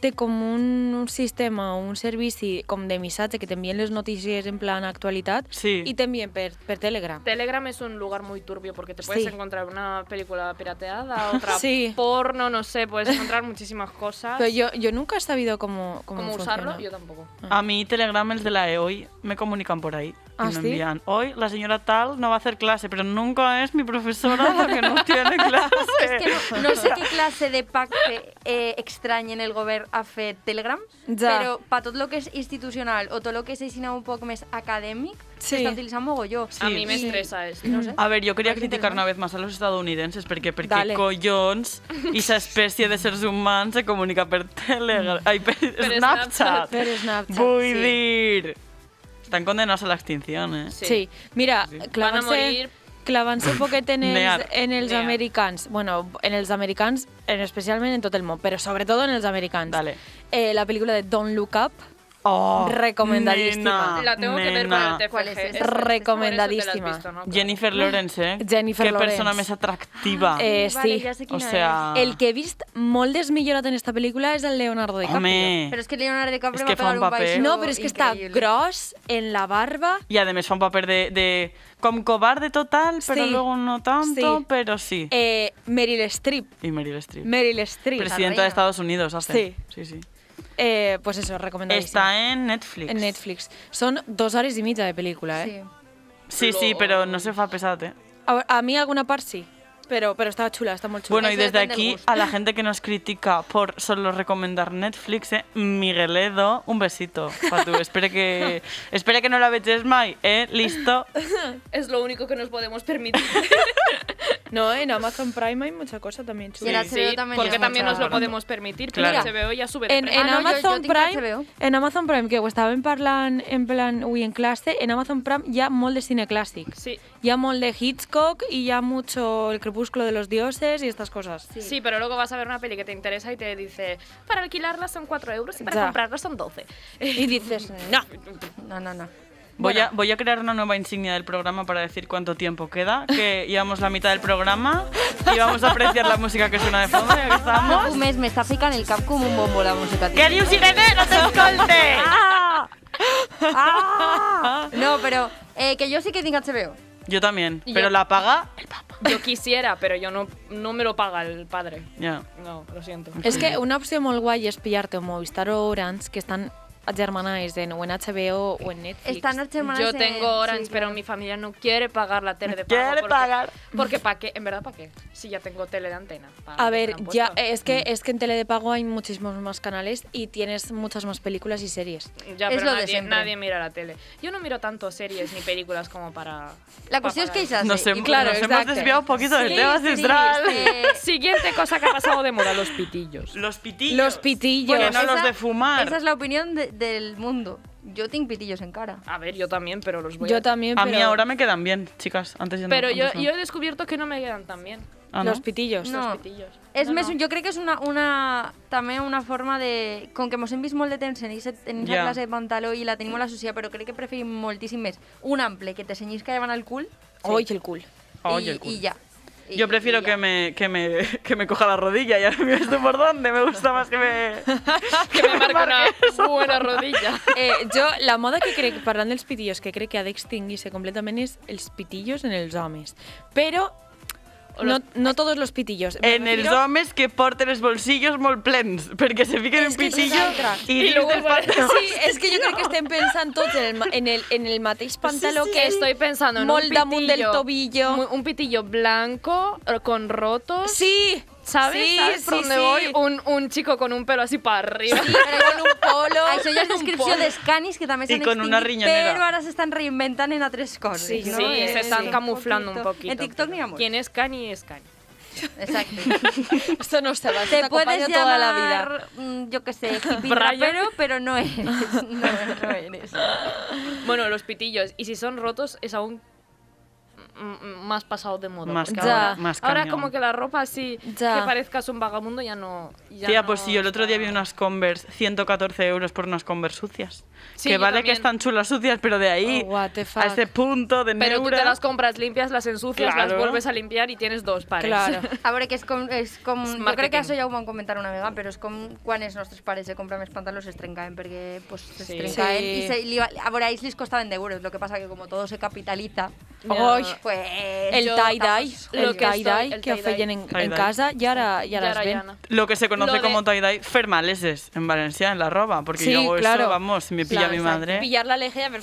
S2: té com un, un sistema, un servici com de missatge que t'envien les notícies en plan actualitat
S3: Sí.
S2: i t'envien per, per Telegram.
S1: Telegram es un lugar muy turbio porque te puedes
S2: Sí.
S1: encontrar una película pirateada, (laughs) otra
S2: Sí.
S1: porno, no sé, puedes encontrar muchísimas cosas.
S2: Però jo, jo nunca he sabido cómo, cómo,
S1: ¿Cómo
S2: funciona.
S1: usarlo? Yo tampoco.
S3: A mí Telegram, el de la E hoy, me comunican por ahí. Y
S2: ¿Ah,
S3: me
S2: sí?
S3: envían, hoy la señora tal no va a hacer clase, pero nunca es mi profesora la que no
S2: (laughs)
S3: tiene clase.
S4: És que no, no sé qué clase de pacte eh, extraño en el govern ha fet Telegram,
S2: Ja.
S4: però per tot lo que és institucional o tot lo que és així un poc més acadèmic,
S2: Sí.
S4: s'està utilitzant mogolló.
S3: Sí.
S1: A mí me
S4: Sí.
S1: estresa eso.
S3: A ver, yo quería
S4: Ay, qué
S3: criticar
S4: interesante.
S3: una vez más a los estadounidenses porque, porque
S2: Dale.
S3: collons y esa especie de seres humanos se comunica por Telegram, ay, per Snapchat.
S1: Snapchat.
S2: Mm. Per Snapchat,
S3: Vull
S2: sí.
S3: dir. Están condenados a la extinción, ¿eh?
S1: Sí.
S2: Sí. Mira,
S3: Sí.
S1: Van a
S2: clavant-se
S1: morir.
S2: clavant poquet en els,
S3: Near.
S2: en els
S1: Near.
S2: americans, bueno, en els americans, en, especialment en tot el món, però sobretot en els americans.
S3: Dale.
S2: Eh, la pel·lícula de Don't Look Up,
S3: Oh,
S2: Recomendadísima.
S3: nena,
S1: La tengo que ver
S3: nena.
S1: con el TFG.
S4: ¿Cuál es esa?
S1: Esa-
S2: Recomendadísima.
S1: por eso te la has visto, ¿no? Claro.
S3: Jennifer Lawrence, ¿eh?
S2: Jennifer
S3: Qué persona
S2: Lawrence.
S3: más atractiva.
S2: Eh,
S4: vale,
S2: sí.
S4: ja sé
S3: o
S4: quina
S3: sea,
S2: el que he vist molt desmillorat en esta pel·lícula és el Leonardo DiCaprio.
S4: és.
S3: Home.
S4: Però és que Leonardo DiCaprio
S3: És que
S4: va
S3: fa
S4: pegar
S3: un
S4: un,
S3: paper.
S4: baixo
S2: No, però és que està
S4: increïble.
S2: gros en la barba.
S3: Y además fue un papel de, de como cobarde total, pero
S2: Sí.
S3: luego no tanto,
S2: Sí.
S3: pero sí.
S2: Eh, Meryl Streep.
S3: y Meryl Streep.
S2: Meryl Streep.
S4: Presi-
S3: Presidenta
S4: reina.
S3: de Estados Unidos hace. Sí, sí.
S2: Eh, pues eso, recomendadísimo.
S3: Está en Netflix.
S2: en Netflix. Són dos hores i mitja de pel·lícula, eh?
S4: Sí.
S3: Sí, sí, pero no se fue a pesar, ¿eh?
S2: A, a mí alguna par sí, pero, pero estaba chula, está muy chula.
S3: Bueno, y
S4: Eso
S3: desde
S4: depende del
S3: aquí
S4: gusto.
S3: a la gente que nos critica por solo recomendar Netflix, eh, Migueledo, un besito
S2: (laughs)
S3: para tú. Espere que, espere que no la veches mai, ¿eh? Listo.
S1: Es lo único que nos podemos permitir.
S2: No, en Amazon Prime hay mucha cosa también
S4: Y en
S2: chula.
S4: Sí. HBO también
S1: porque
S4: es
S1: también
S4: mucho.
S1: nos lo podemos permitir.
S3: Claro.
S1: Pero HBO ya sube de
S2: En,
S1: precio.
S2: en
S4: Ah, no, yo- yo
S2: Amazon
S4: tinc
S2: Prime,
S4: HBO.
S2: en Amazon Prime, que ho estàvem parlant en plan avui en classe, en Amazon Prime hi ha molt de cine clàssic.
S1: Sí.
S2: Hi ha molt de Hitchcock i hi ha mucho El crepúsculo de los dioses i estas cosas.
S1: Sí. pero luego vas a ver una peli que te interesa y te dice, para alquilarla son 4 euros y para
S2: Ya.
S1: comprarla son 12.
S2: I dices, no.
S4: No, no, no.
S3: Voy, a, voy a crear una nueva insignia del programa para decir cuánto tiempo queda, que llevamos la mitad del programa y vamos a apreciar la música que suena de fondo, ya que
S2: Ah.
S4: No
S3: estamos.
S4: fumes, m'està ficant el cap com un bombo la música. tio.
S3: ¡Que Dios Irene no te escolte!
S4: Ah! No, però eh, que jo sí que tinc HBO.
S3: Yo también, pero
S1: Yo-
S3: la paga...
S1: Yo quisiera, pero yo no, no me lo paga el padre.
S3: Ya.
S1: No, lo siento.
S2: És que una opció molt guai és pillar-te un Movistar o Orange, que estan agermanáis en, o en HBO o en Netflix.
S4: Están hermanas
S1: Yo
S4: en-
S1: tengo Orange,
S4: sí,
S1: pero
S4: claro.
S1: mi familia no quiere pagar la tele de pago.
S3: quiere
S1: porque,
S3: pagar.
S1: Porque ¿para qué? En verdad, ¿para qué? Si ya tengo tele de antena. ¿para qué
S2: A
S1: me
S2: ver,
S1: la han
S2: ya
S1: puesto?
S2: es que es que en tele de pago hay muchísimos más canales y tienes muchas más películas y series.
S1: Ya,
S4: eh, Es
S1: pero
S4: lo de
S1: nadie,
S4: siempre.
S1: nadie mira la tele. Yo no miro tanto series ni películas como para.
S4: La cuestión es
S1: para
S4: que
S1: pagar
S3: Nos,
S4: Islas
S3: hem-
S2: claro,
S3: nos hemos
S2: exacto.
S3: desviado un poquito del
S4: Sí,
S3: tema
S4: sí,
S3: central.
S4: este,
S1: eso. (laughs) Siguiente cosa que ha pasado de moda: los pitillos.
S3: Los pitillos.
S2: Los pitillos.
S3: Que no
S4: esa-
S3: los de fumar.
S4: Esa es la opinión de- del mundo. Yo tengo pitillos en cara.
S1: A ver, yo también, pero los voy a-
S2: Yo también,
S3: A
S2: pero
S3: mí ahora me quedan bien, chicas. Antes ya no.
S1: Pero yo,
S3: antes no.
S1: yo he descubierto que no me quedan tan (laughs) bien
S3: Ah, ¿no?
S2: los pitillos.
S4: No.
S1: los pitillos.
S4: És
S1: No,
S4: no, més,
S1: no.
S4: no. jo crec que és una, una, també una forma de... Com que mos hem vist molt de temps en aquesta
S3: Ja.
S4: yeah. classe de pantaló i la tenim molt associada, però crec que preferim moltíssim més un ample que te cenyís que llevan al cul
S2: Hoy el cool.
S3: Ay,
S4: i,
S3: el culo.
S4: i ja. I,
S3: Yo prefiero
S4: i
S3: que me, que, me, (laughs) que me coja la rodilla, ya me estoy por dónde, me gusta más que me...
S1: Ah, Que (laughs) me marca una buena rodilla.
S2: Eh, jo, la moda que crec, parlant dels pitillos, que crec que ha d'extingir-se completament és els pitillos en els homes. Però no, no tots els pitillos. Me
S3: En els
S2: refiero-
S3: homes que porten els bolsillos molt plens, perquè se fiquen en
S4: És que això és
S3: pitillo
S4: altra.
S3: i,
S1: I
S3: dins
S1: luego
S3: del
S1: ponen-
S3: pantaló.
S2: (laughs) Sí, és que jo crec que estem pensant tots en el, ma- en el, en el mateix pantaló
S1: sí,
S2: que
S1: sí. Estoy pensando en
S2: molt
S1: un
S2: damunt del
S1: pitillo.
S2: tobillo.
S1: Mu- Un pitillo blanco eh, con rotos.
S2: Sí,
S1: ¿Sabes?
S2: Sí,
S1: ¿Sabes por
S2: sí,
S1: dónde
S2: sí.
S1: voy? Un, un chico con un pelo así para arriba.
S4: Sí, però
S2: Con (laughs) un polo.
S4: Això ja és descripció d'escanis que també
S3: I
S4: s'han
S3: con una
S4: extingit,
S3: riñonera.
S4: però ara s'estan reinventant en altres coses.
S2: Sí,
S4: no?
S1: Sí,
S2: Eh,
S1: se están
S2: sí.
S1: camuflando un poquito.
S4: En TikTok n'hi ha molt.
S1: ¿Quién es Kanye? Es Kanye.
S4: Exacte.
S2: Esto no se va, esto
S4: Te
S2: te acompaña
S4: puedes
S2: toda la vida.
S4: llamar, mm, yo qué sé, hippie
S1: Brian.
S4: rapero, pero no eres. (laughs) No, no eres.
S1: Bueno, los pitillos. Y si son rotos, es aún m- m- más pasado de moda.
S3: Más
S1: porque
S2: cañón,
S1: ahora,
S3: más
S1: ahora
S3: cañón.
S1: como que la ropa así,
S2: Ya.
S1: que parezcas un vagabundo, ya no... ya
S3: Tía,
S1: no
S3: pues si yo el otro día vi
S1: está-
S3: unas Converse, 114 euros por unas Converse sucias.
S1: Sí,
S3: que
S1: yo
S3: vale
S1: también.
S3: que están chulas sucias, pero de ahí
S2: Oh, what the
S3: a
S2: fuck.
S3: ese punto de
S1: Pero tú
S3: neura-
S1: te las compras limpias, las ensucias, las
S3: Claro.
S1: vuelves a limpiar y tienes dos pares. (laughs)
S2: Claro.
S4: A veure, que és com... És com
S1: És
S4: jo crec que
S1: marketing.
S4: això ja ho vam comentar una vegada, però és com quan els nostres pares se compren els pantalons es trencaven, perquè pues, es
S1: Sí.
S4: trencaven.
S2: Sí.
S4: I se, li, va- a veure, a ells les costaven 10 euros, lo que pasa que como todo se capitaliza,
S1: Ya.
S2: Ay.
S4: pues...
S2: El
S4: yo-
S2: tie-dye,
S1: Lo
S2: el
S1: que estoy-
S2: tie-dye
S1: el
S2: que
S1: tie-dye.
S2: feien en, en
S3: Tie-dye.
S2: casa i ara, i
S1: Ya
S2: ara es
S1: ahora ya
S2: ven.
S1: no.
S3: Lo que se conoce
S1: Lo de-
S3: como tie-dye, fermaleses en Valencia, en la roba, porque
S2: Sí,
S3: yo hago
S2: claro.
S3: eso, vamos, si me pilla
S2: Claro,
S3: mi
S2: exacto.
S3: madre,
S2: Pillar la leja i a veure...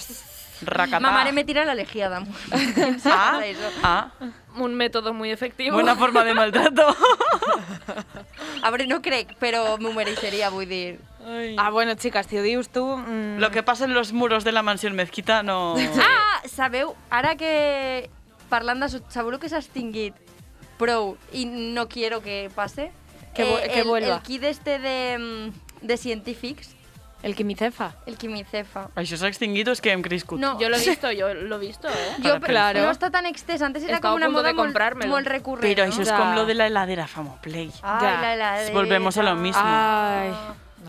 S3: racatá.
S4: Ma mare me tira la lejía, d'amor.
S3: Ah,
S4: Eso.
S3: ah,
S1: Un método muy efectivo.
S3: buena forma de maltrato.
S4: (laughs) A veure, no crec, però m'ho mereixeria, vull dir...
S2: Ah, bueno, chicas, si ho dius tu... Mm,
S3: Lo que pasa en los muros de la mansión mezquita no...
S4: Ah, sabeu, ara que parlant d'això, sabeu el que s'ha extingit prou i no quiero que passe? Eh,
S2: Que vu- que
S4: el,
S2: vuelva.
S4: El kit este de, mm, de científics,
S2: El que mi cefa.
S4: el quimicefa.
S3: Això s'ha extinguit o és que hem crescut?
S4: No,
S1: (laughs) Yo lo he visto, yo lo he visto, ¿eh?
S4: Jo,
S2: Claro.
S4: claro. no està tan extès, antes era
S1: Estava a
S4: com una
S1: punto
S4: moda
S1: de
S4: molt,
S1: comprármelo.
S4: molt recurrent.
S3: Però
S4: no?
S3: això és
S2: Ja.
S3: com lo de la heladera Famoplay.
S4: Ai,
S2: Ja.
S4: la heladera.
S3: Volvemos a lo mismo.
S2: Ai,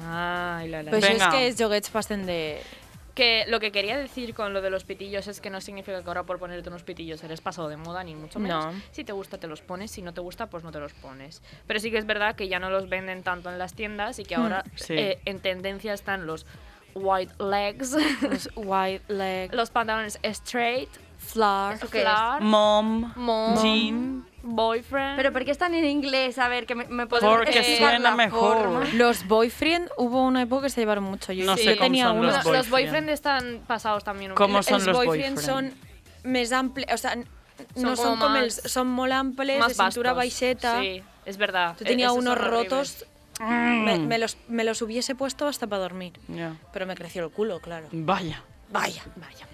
S1: Ay, la, la,
S2: però això és
S1: la.
S3: Venga.
S2: pues que els joguets passen de...
S1: Pues Que lo que quería decir con lo de los pitillos es que no significa que ahora por ponerte unos pitillos eres pasado de moda, ni mucho menos.
S2: No.
S1: Si te gusta, te los pones. Si no te gusta, pues no te los pones. Pero sí que es verdad que ya no los venden tanto en las tiendas y que ahora
S3: Sí.
S1: eh, en tendencia están los white legs, (laughs)
S3: (laughs)
S2: Los wide leg,
S1: los pantalones straight,
S2: flower...
S4: ¿Eso qué es?
S1: flar,
S3: Mom,
S1: mom,
S3: Jean...
S1: boyfriend.
S4: Pero ¿por qué están en inglés? A ver, que me, me podéis
S3: Porque
S4: explicar
S3: suena
S4: la
S3: mejor.
S4: forma.
S2: Los boyfriend, hubo una época que se llevaron mucho. Yo,
S3: No
S2: yo
S3: sé cómo
S2: tenía
S3: son
S1: Bueno,
S2: uno.
S1: los, boyfriend.
S3: los boyfriend
S1: están pasados también. un
S3: ¿Cómo
S1: poco.
S3: son
S2: els
S3: los
S2: boyfriend,
S3: boyfriend?
S2: són més amples, o sea, n- no
S1: Són com
S2: són com
S1: más-
S2: els, són molt amples,
S1: Más
S2: de cintura
S1: vastos.
S2: baixeta.
S1: Sí, es verdad.
S2: Yo tenía
S1: E-, Esos son
S2: unos
S1: horribles.
S2: rotos, me, me los, me los hubiese puesto hasta para dormir,
S3: Ya.
S2: pero me creció el culo, claro.
S3: Vaya,
S2: Vaya.
S1: Vaya.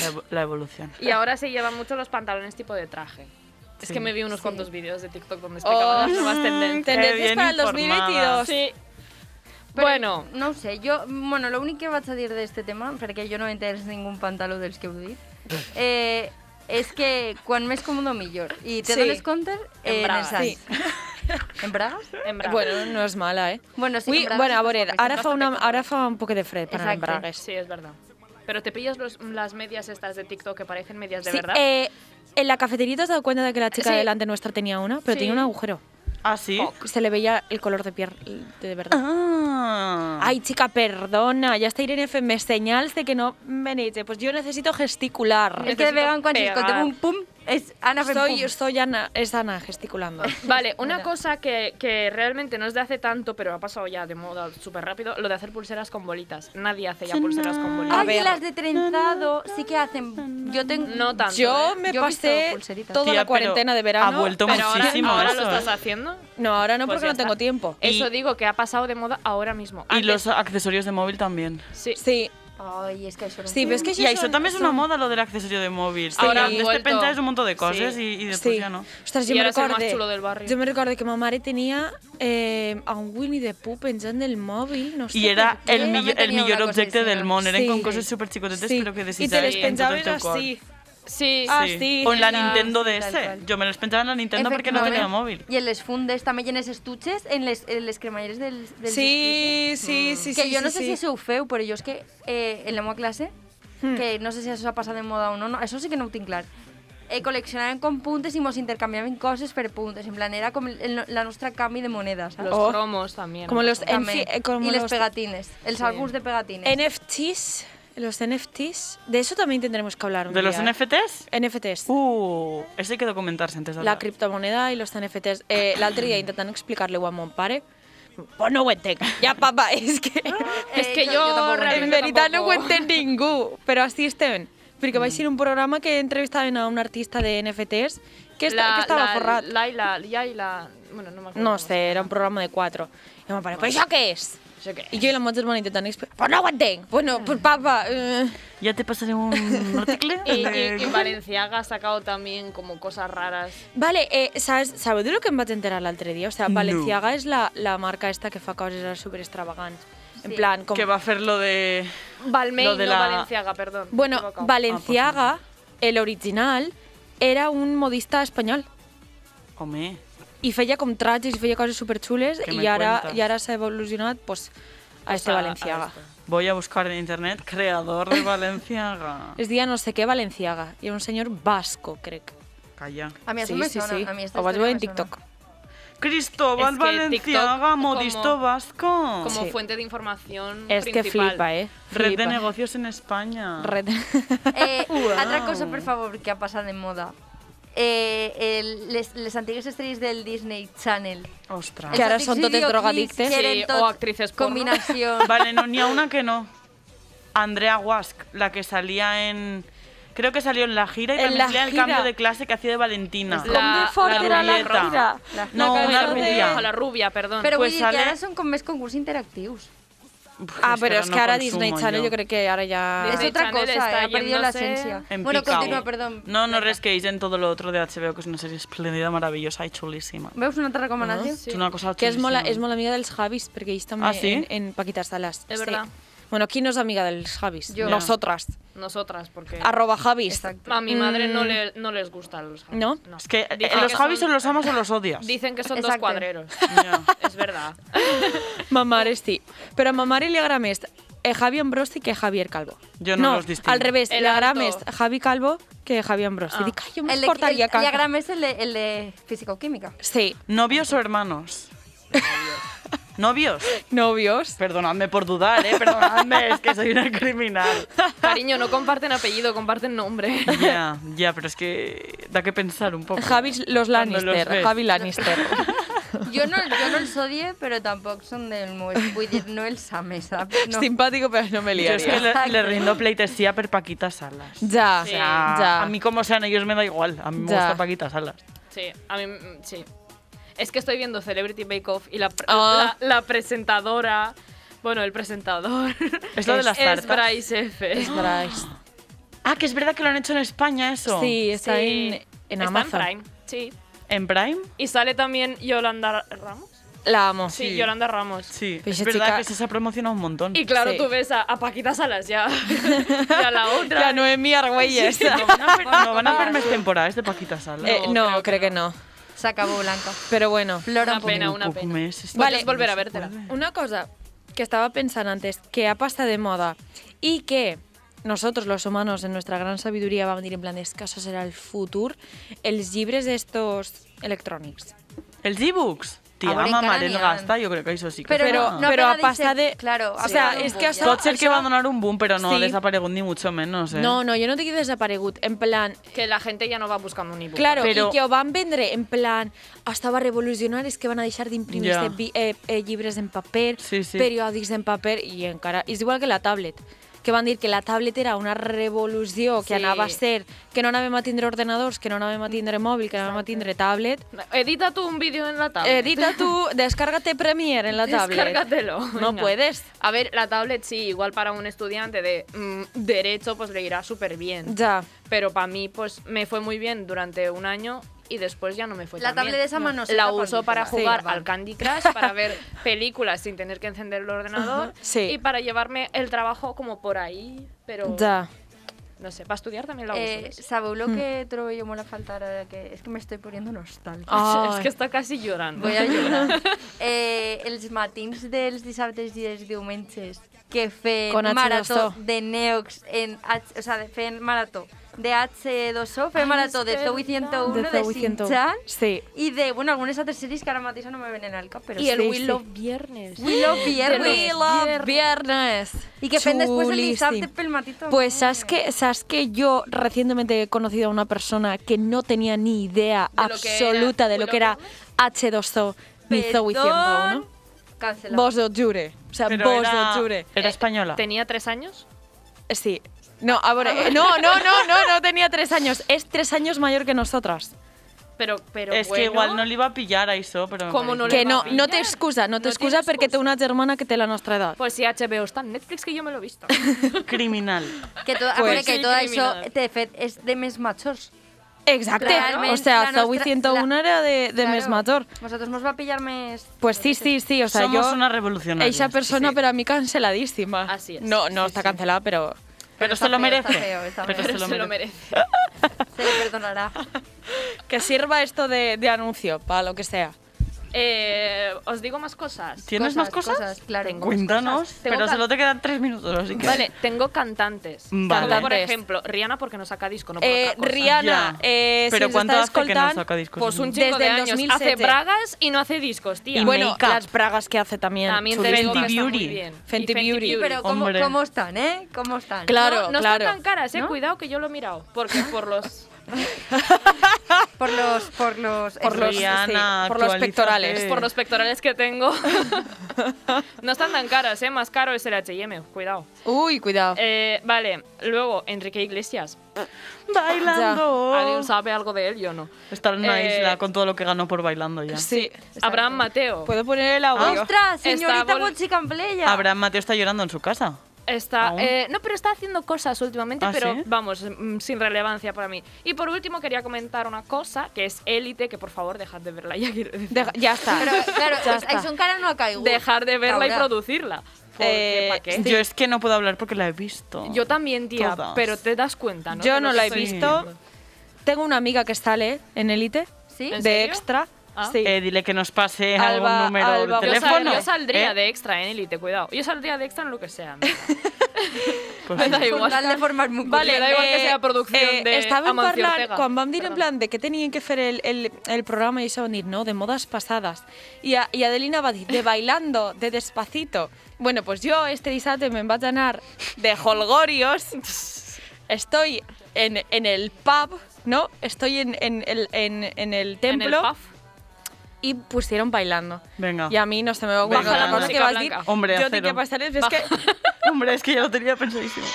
S3: la evo- la evolución.
S1: Y ahora se llevan mucho los pantalones tipo de traje. Es
S3: Sí. Oh,
S1: que me vi unos cuantos vídeos de TikTok donde explicaban las nuevas tendencias.
S3: Qué
S2: Tendencias
S3: bien
S2: para el
S3: informada.
S2: 2022.
S1: Sí.
S4: Però
S1: bueno,
S4: No ho sé, jo, bueno, l'únic que vaig a dir d'aquest tema, perquè jo no m'interessa ningú pantaló dels que heu
S2: (laughs)
S4: dit, eh, és que quan més còmodo millor. I te
S2: Sí.
S4: sí. dones compte
S1: En
S4: eh, en,
S1: bragues.
S4: els anys. (laughs) En bragues?
S1: en bragas.
S2: Bueno, no és mala, eh?
S4: Bueno, sí,
S2: Ui,
S4: en bragues
S2: bueno, a
S4: estàs
S2: veure, ara
S4: guapíssima,
S2: fa,
S4: estàs
S2: una,
S4: guapíssima.
S2: ara fa un poc de fred per anar en
S4: Exacte.
S2: bragues.
S1: sí, es verdad. Pero te pillas los- las medias estas de TikTok que parecen medias de
S2: Sí,
S1: verdad.
S2: eh, en la cafetería te has dado cuenta de que la chica
S1: Sí.
S2: delante nuestra tenía una, pero
S1: Sí.
S2: tenía un agujero.
S3: Ah, sí?
S2: Se le veía el color de piel de verdad.
S3: Ah.
S2: Ay, chica, perdona, ya está Irene F. Me señalce que no me dice, pues yo necesito gesticular.
S4: És que de
S1: Necesito
S4: vegades quan
S1: pegar.
S4: s'escoltem un pum, És Anna fent
S2: Soy,
S4: pum.
S2: soy Ana, es Ana
S1: (laughs)
S2: gesticulando.
S1: Vale, una
S4: Espera.
S1: cosa que, que realmente no es de hace tanto, pero ha pasado ya de moda súper rápido, lo de hacer pulseras con bolitas. Nadie hace ya pulseras con
S4: Ay,
S1: bolitas.
S2: A ver.
S4: las de trenzado sí que hacen. Yo tengo.
S1: No tanto.
S2: Yo
S1: ¿eh?
S2: me
S4: Yo he visto
S2: pasé
S4: pulseritas.
S2: toda
S3: Tía,
S2: la
S3: pero
S2: cuarentena de verano.
S3: ha vuelto
S1: Pero ahora,
S3: muchísimo
S1: ahora
S3: eso,
S1: lo estás
S3: ¿eh?
S1: haciendo.
S2: No, ahora no
S1: Pues
S2: porque
S1: ya
S2: no tengo
S1: está.
S2: tiempo.
S3: Y-
S1: Eso digo que ha pasado de moda ahora mismo.
S3: Y
S1: Antes-
S3: los... los accesorios de móvil también.
S1: Sí.
S2: Sí,
S4: Ay, es que això era un
S2: sí, pero es que
S3: I això també és una moda, lo del accessorio de mòbil. Sí, Ara,
S1: han
S3: antes te
S1: vuelto.
S3: pensaves un montón de coses
S1: Sí.
S3: i, i després
S2: Sí.
S3: ja no.
S2: Ostras,
S1: Y
S2: yo me
S1: ahora es el más
S2: recordé.
S1: chulo del barrio.
S2: Yo me recordé que mi madre tenía eh, a un Winnie the Pooh pensando en el móvil. No sé
S3: I era
S2: por qué.
S3: el
S4: també
S3: millor, el
S4: tenia
S3: millor
S4: una cosa
S3: objecte
S4: així,
S3: del
S4: no?
S3: món. Eren
S2: Sí.
S3: com coses superxicotetes,
S2: Sí.
S3: però que
S2: I te les
S3: desitjaves en tot el
S2: pensaves
S3: teu cor.
S2: així.
S1: Sí.
S2: Ah, sí,
S3: O en la
S2: era-
S3: Nintendo
S4: sí,
S3: DS.
S4: tal cual.
S3: Jo me les pensava en la Nintendo perquè no
S4: Efectivament.
S3: tenia mòbil.
S4: I en les fundes, també i en els estutxes, en les, en les cremalleres dels, dels
S2: Sí,
S1: Mm.
S2: sí, sí,
S4: Que
S2: sí,
S4: jo no
S2: sí,
S4: sé
S2: sí.
S4: si això ho feu, però jo és que eh, en la meva classe,
S2: Hmm.
S4: que no sé si això s'ha passat de moda o no, no, això sí que no ho tinc clar, eh, col·leccionàvem com puntes i mos intercanviaven coses per puntes, en plan era com el, no- la nostra canvi de monedes, saps?
S1: Los
S2: Oh.
S1: cromos también.
S2: Como los- En
S4: També.
S2: fi, eh, com
S4: I les
S2: los-
S4: pegatines, els álbums de pegatines.
S2: NFTs, los NFTs. De eso también tendremos que hablar un
S3: De los
S2: día, ¿eh?
S3: NFTs?
S2: NFTs.
S3: Uh, eso hay que documentarse antes de
S2: la
S3: hablar.
S2: criptomoneda i los NFTs. Eh, L'altre dia intentant explicar-li-ho a mon pare, pues no ho entenc. Ja, papa, (laughs) és que...
S1: Es que
S4: Eh,
S1: yo,
S4: yo tampoco lo
S2: en
S1: realmente
S2: veritat no ho
S1: tampoco-
S2: entén ningú, però així estem. Perquè vaig ser un programa que entrevistaven a un artista de NFTs que, esta,
S1: La-
S2: que estava
S1: la-
S2: forrat.
S1: Laila, Yaila... Bueno, no me acuerdo.
S2: no sé, era un programa de quatre. I mon pare, però això què és?
S1: Això què
S2: I jo i la meva germana intentant explicar, pues no ho entenc. Bueno, pues papa... Eh.
S3: Ya te pasaré un
S1: (laughs)
S3: artículo.
S1: Y,
S3: de-
S1: y, y Valenciaga ha sacado también como cosas raras.
S2: Vale, eh, ¿sabes, ¿sabes de lo que em vaig enterar l'altre dia? O sea,
S3: No.
S2: Valenciaga és la, la marca esta que fa coses super extravagants. En
S4: Sí.
S2: plan, com...
S3: Que va a hacer lo de...
S1: Balmain,
S3: Lo de
S1: no
S3: la-
S1: Valenciaga, perdón. me he
S2: Bueno,
S1: equivocado.
S2: Valenciaga, el original, era un modista espanyol
S3: Home,
S2: i feia com trajes i feia coses superxules
S3: Que me
S2: i ara,
S3: cuentas.
S2: i ara s'ha evolucionat pues, a este
S1: a- a
S2: Valenciaga.
S1: este.
S3: voy a buscar en internet creador
S1: (laughs)
S3: de Valenciaga.
S2: Es dia no sé què Valenciaga i era un senyor vasco, crec.
S3: Calla.
S4: A mi això me sona, a mi esta
S2: Ho vaig veure
S4: història me
S2: en
S4: sona.
S2: TikTok.
S3: Cristóbal
S1: Es que TikTok
S3: Valenciaga,
S1: como-
S3: modisto vasco.
S1: Como
S2: Sí.
S1: fuente de información
S2: És que
S1: principal.
S2: flipa, eh?
S3: Red
S2: Flipa.
S3: de negocios en España.
S2: Red de... (laughs)
S4: Eh, Altra cosa, per favor, que ha passat de moda. Eh, el, les, les antigues estrelles del Disney Channel.
S3: Ostras.
S2: Que ara són totes drogadictes.
S1: Ah. Sí, o actrices porno. (laughs)
S4: Combinació.
S3: Vale, no, ni a una que no. Andrea Wask, la que salía en... Creo que salió en la gira y
S2: En
S3: también
S2: la
S3: salía en el
S2: gira.
S3: cambio de clase que hacía de
S1: La-
S3: Valentina.
S1: Com de fort
S3: la
S1: era la
S3: rubieta.
S2: gira.
S4: La-
S3: No,
S2: la
S3: una
S2: cabeza de-
S3: rubia.
S1: Ojalá rubia, perdón.
S4: Però
S3: Pues
S4: vull dir
S3: sale-
S4: que ara són com més concurs interactius.
S3: Uf,
S2: Ah, però és
S3: no
S2: que ara
S3: consumo
S2: Disney Channel jo crec que ara ja...
S4: és
S1: Disney
S4: otra
S1: Channel
S4: cosa,
S1: Ah, está
S4: eh, ha perdido la
S1: yéndose
S4: esencia.
S3: En
S4: Bueno,
S3: picao.
S4: continua, perdó.
S3: No, no res, que dicen todo lo otro de HBO, que es una serie espléndida, maravillosa y chulísima.
S4: Veus una altra
S1: Ah,
S4: recomanació?
S3: Es una cosa
S2: Que és molt,
S3: chulísima.
S2: és molt amiga dels Javis, perquè ells també
S3: Ah, sí?
S2: en, en Paquita Salas.
S1: Es
S2: Sí.
S1: verdad.
S2: Bueno, ¿quién no es amiga dels Javis?
S4: Yo.
S2: Nosotras.
S1: Nosotras, porque
S2: Arroba Javis. (laughs)
S4: Exacto.
S1: a mi madre no, le, no les gustan los Javis.
S2: ¿No?
S3: Mm. Es que eh,
S1: Dicen
S3: los
S1: que
S3: Javis
S1: son-
S3: o los amas o los odias.
S1: Dicen que son dos
S4: Exacto.
S1: cuadreros. (laughs)
S3: Ya.
S1: Es verdad.
S2: Ma mare sí. Però a ma mare li agrada més eh, Javi Ambrosi que Javier Calvo.
S3: Jo no
S2: no
S3: los distingo.
S2: al revés,
S1: El
S2: li agrada
S1: alto.
S2: més Javi Calvo que Javi Ambrosi.
S1: Ah.
S2: Dic, ai, jo
S4: El de, el,
S2: m'exportaria
S4: el
S2: calvo.
S4: gran és el de, el de físico-química.
S2: Sí,
S3: ¿Novios o hermanos? ¿Novios?
S2: novios.
S3: Perdonadme por dudar, ¿eh? Perdonadme, es que soy una
S1: (laughs)
S3: criminal.
S1: Cariño, no comparten apellido, comparten
S3: (laughs)
S1: nombre.
S3: Ya, ya, pero es que da que pensar un poco.
S2: Javis los
S3: Cuando los
S2: Lannister.
S3: ves.
S2: Javi
S1: (laughs)
S2: Lannister.
S4: Jo no, jo no els odie, però tampoc són del meu... Vull dir, no els ame, saps? No.
S2: Simpático, però no me
S3: Yo es que
S2: liaria.
S3: le, le rindo pleitesía per Paquita Salas.
S2: Ja,
S1: Sí.
S2: ja.
S3: A mí como sean ellos me da igual. A mí me
S2: Ya.
S3: gusta Paquita Salas.
S1: Sí, a mí mm, sí. Es que estoy viendo Celebrity Bake Off y la, pr-
S2: Ah.
S1: la, la presentadora, bueno, el presentador,
S3: (laughs) ¿Es lo de las
S1: es
S3: tartas?
S1: Bryce F.
S2: Es
S3: (gasps)
S2: Bryce.
S3: Ah, que es verdad que lo han hecho en España eso.
S2: Sí, está
S1: Sí.
S2: en, en
S1: Está
S2: Amazon.
S1: en Prime, sí.
S3: ¿En Prime?
S1: Y sale también Yolanda Ramos.
S2: La amo.
S1: Sí,
S3: Sí.
S1: Yolanda Ramos.
S3: Sí.
S2: Pero
S3: es
S2: esa
S3: verdad
S2: chica-
S3: que se ha promocionado un montón.
S1: Y claro,
S2: Sí.
S1: tú ves a, a Paquita Salas ya (laughs) y a la otra.
S2: La Noemí Argüelles.
S1: (laughs)
S3: No van a ver, no van (laughs) a ver más temporadas de Paquita Salas.
S2: Eh, no, creo, que, no.
S4: S'acabó, Blanca.
S2: Pero bueno.
S4: Plora
S1: Una
S4: un poc.
S1: pena, una pena.
S3: Mes, esto-
S1: Vale. volver a vértela.
S2: Una cosa que estaba pensando antes, que ha pasado de moda y que nosotros los humanos en nuestra gran sabiduría van a decir en plan, es que eso será el futuro, els llibres de estos electronics.
S3: ¿El D-Books? ti
S4: A veure,
S3: ama,
S4: encara
S3: Manel
S4: n'hi ha.
S3: Gasta, jo crec que això sí que...
S4: Però,
S2: Però-
S4: no,
S2: però
S4: acaba
S2: a passar
S4: ser-
S2: de-
S4: Claro,
S2: o sea,
S4: acaba
S2: és
S4: d'un
S2: que
S4: boom,
S2: això-
S4: ja.
S3: Pot ser que va donar un boom, però no
S2: Sí.
S3: ha desaparegut ni mucho menos, eh?
S2: No, no, jo no dic desaparegut, en plan...
S1: Que la gente ya no va buscando un ebook.
S2: Claro,
S3: Però-
S2: i que ho van vendre en plan estava revolucionar, és que van a deixar d'imprimir
S3: Ja.
S2: yeah. eh, eh, llibres en paper,
S3: Sí, sí.
S2: periòdics en paper, i encara... És igual que la tablet, que van dir que la tablet era una revolució que
S1: Sí.
S2: anava a ser, que no anàvem a tindre ordenadors, que no anàvem a tindre mòbil, que anàvem a tindre tablet. Eh,
S1: Edita tú un vídeo en la tablet.
S2: Edita tú, descárgate Premiere en la tablet.
S1: Descárgatelo.
S2: No
S1: Venga.
S2: puedes.
S1: A ver, la tablet sí, igual para un estudiante de mm, derecho pues le irá súper bien.
S2: Ya.
S1: Pero para mí pues me fue muy bien durante un año y después ya no me fue tan
S4: La
S1: bien.
S4: tablet esa mano seca
S1: La
S4: para
S1: uso
S4: mí,
S1: para
S4: sí,
S1: jugar
S4: vale.
S1: al Candy Crush, para
S3: (laughs)
S1: ver películas sin tener que encender el ordenador
S2: Sí.
S1: y para llevarme el trabajo como por ahí, pero
S2: Ya.
S1: no sé, para estudiar también la uso.
S4: Eh,
S1: ¿ves?
S4: sabeu lo que trobo jo molt a faltar ara? Que és que m'estic poniendo nostàlgica.
S1: (laughs) Es
S2: Ai.
S1: que está casi llorando.
S4: Voy a
S2: (laughs)
S4: llorar. Eh, els matins dels dissabtes i dels diumenges que feien
S2: Con H2O.
S4: marató de Neox en H, o sea, de, feien marató de H2O, feien
S1: Ai,
S4: marató de
S1: és
S4: Zoey 101,
S2: De
S4: de,
S2: Zoey 101.
S4: Shin-Chan
S2: Sí.
S4: i de, bueno, algunes altres sèries que ara mateix no me venen al cap, però
S1: Y el
S2: Sí,
S1: Willow Viernes.
S4: We Love Viernes.
S2: We love viernes.
S4: Y que ven después el
S2: Chulísimo.
S4: dissabte pel matí també.
S2: Pues sabes que, sabes que yo recientemente he conocido a una persona que no tenía ni idea
S1: De lo que era
S2: absoluta de lo
S1: Willow
S2: que era H2O ni Zoe 101.
S4: Cancela.
S2: Vos lo jure. O sea,
S3: Però
S2: vos
S3: era,
S2: lo jure.
S3: era espanyola.
S1: Tenía tres años.
S2: Sí. No, a ver,
S1: Ah,
S2: eh, no, no, no, no, no tenía tres años. Es tres años mayor que nosotras.
S1: Pero, pero
S3: és que
S1: bueno,
S3: igual no li va a pillar a això, però...
S1: Com
S3: em
S1: no
S3: pareix
S2: Que
S1: le va
S2: no,
S1: a
S2: no
S1: pillar.
S2: te excusa, no
S1: No
S2: te
S1: tiene
S2: excusa porque tengo una germana que te la nuestra edad.
S1: Pues si HBO está en Netflix, que yo me lo he
S3: (laughs)
S1: visto.
S3: Criminal.
S4: Que to, a
S2: Pues
S4: veure, que
S1: sí,
S4: tot això,
S1: criminal.
S4: de fet, és de més machos.
S2: Exacto.
S4: Realmente,
S2: O sea,
S4: la
S2: Zoe
S4: nuestra-
S2: 101
S4: la-
S2: era de, de Mes Mator.
S4: Vosaltres mos va pillar més...
S2: Pues sí, sí, sí. O sea,
S3: Somos
S2: yo.
S3: unas revolucionarias.
S2: Esa persona, pero a mí canceladísima.
S1: Así es.
S2: No, no está cancelada, pero.
S3: Pero
S4: está
S3: se lo
S4: feo, está
S3: merece.
S4: feo, está
S3: Pero
S4: feo.
S3: se lo
S1: Se lo
S3: merece.
S1: merece.
S4: Se le perdonará.
S2: Que sirva esto de, de anuncio, para lo que sea.
S1: Eh, os digo más cosas.
S3: ¿Tienes más cosas?
S4: claro.
S1: Tengo.
S3: Cuéntanos,
S1: cosas. Tengo
S3: pero
S1: can-
S3: solo te quedan tres minutos, así que...
S1: Vale, tengo cantantes.
S3: Vale.
S1: Como por
S2: Cantantes.
S1: ejemplo, Rihanna porque no saca disco, no por
S2: Eh,
S1: otra cosa.
S2: Rihanna,
S3: Ya.
S2: eh,
S3: Pero
S2: si
S3: ¿cuánto
S2: está
S3: hace que no saca discos?
S1: Pues un
S2: Desde
S1: chico de
S2: el
S1: años.
S2: 2007.
S1: Hace bragas y no hace discos, tía.
S3: Y
S2: Bueno,
S3: make-up.
S2: las bragas que hace también.
S1: también te
S2: chulísimo.
S1: digo que
S3: Fenty
S1: está muy
S3: Beauty.
S1: bien. Y
S2: Fenty Beauty.
S1: Beauty.
S4: Pero ¿cómo,
S3: Hombre.
S4: ¿cómo están, eh? ¿Cómo están?
S2: Claro,
S1: no, no
S2: claro.
S1: están tan caras, eh. Cuidado que yo lo he mirado. Porque por los.
S4: Por los... Por los...
S2: Por los,
S3: Rihanna,
S2: sí, por los
S3: actualízate.
S2: pectorales.
S3: Sí.
S1: Por los pectorales que tengo. (laughs) no están tan caras, eh. Más caro es el HM. Cuidado.
S2: Uy, cuidado.
S1: Eh, vale, luego, Enrique Iglesias.
S3: Bailando.
S1: ¿Alguien sabe algo de él? Yo no.
S3: Está en una
S1: Eh,
S3: isla con todo lo que ganó por bailando ya.
S2: sí.
S1: Abraham Mateo.
S2: Puedo poner el audio.
S4: Ah, ¡Ostras,
S1: Está
S4: señorita
S1: vol-
S4: Bochicampleya!
S3: Abraham Mateo está llorando en su casa.
S1: Está,
S3: Aún.
S1: eh, no, pero está haciendo cosas últimamente,
S3: ¿Ah,
S1: pero
S3: sí?
S1: vamos, mm, sin relevancia para mí. Y por último quería comentar una cosa, que es Élite, que por favor dejad de verla, (laughs) ya quiero decir.
S2: Deja- ya está.
S4: Pero, claro,
S2: Ya
S4: es,
S2: está.
S4: son cara no ha caído.
S1: Dejar de verla y
S4: Ahora.
S1: producirla. Porque,
S2: Eh,
S1: ¿pa' qué?
S3: Yo es que no puedo hablar porque la he visto.
S1: Yo también, tía,
S3: Todas.
S1: pero te das cuenta, ¿no?
S2: (laughs) Yo
S1: De lo
S2: no
S1: que
S2: la he
S1: estoy
S2: visto.
S1: diciendo.
S2: Tengo una amiga que sale en Elite
S4: ¿Sí?
S2: de
S1: ¿En serio?
S2: extra.
S1: Ah.
S2: Sí.
S3: Eh, dile que nos pase
S2: Alba-
S3: algún número
S2: Alba-
S3: de
S1: Yo, sal-
S3: teléfono.
S1: yo saldría
S3: ¿eh?
S1: de extra en Élite, cuidado. Yo saldría de extra en lo que sea. mira. (laughs)
S3: Pues
S1: Me
S3: sí.
S1: da
S4: Con
S1: igual.
S4: tal de formar muy
S1: Vale, da
S2: eh,
S1: igual que sea producció de
S2: Estaven
S1: Amancio
S2: parlant,
S1: Ortega.
S2: quan vam dir en
S1: Perdó.
S2: plan de què tenien que fer el, el, el programa, i això van dir, no, de modes passades. I, a, i Adelina va dir, de bailando, de despacito. Bueno, pues jo este dissabte me'n vaig anar de holgorios. Estoy en, en el pub, ¿no? Estoy en, en, el- en, en el
S1: En
S2: templo
S1: el puff.
S2: y pusieron bailando.
S3: Venga.
S2: Y a mí no se me va a ocurrir
S3: Baja la
S2: otra cosa que
S1: música
S2: vas a
S1: blanca.
S2: dir.
S3: Hombre, a
S2: yo tenía
S3: cero.
S2: que pasar es es que
S3: Hombre, es que ya lo tenía pensadísimo.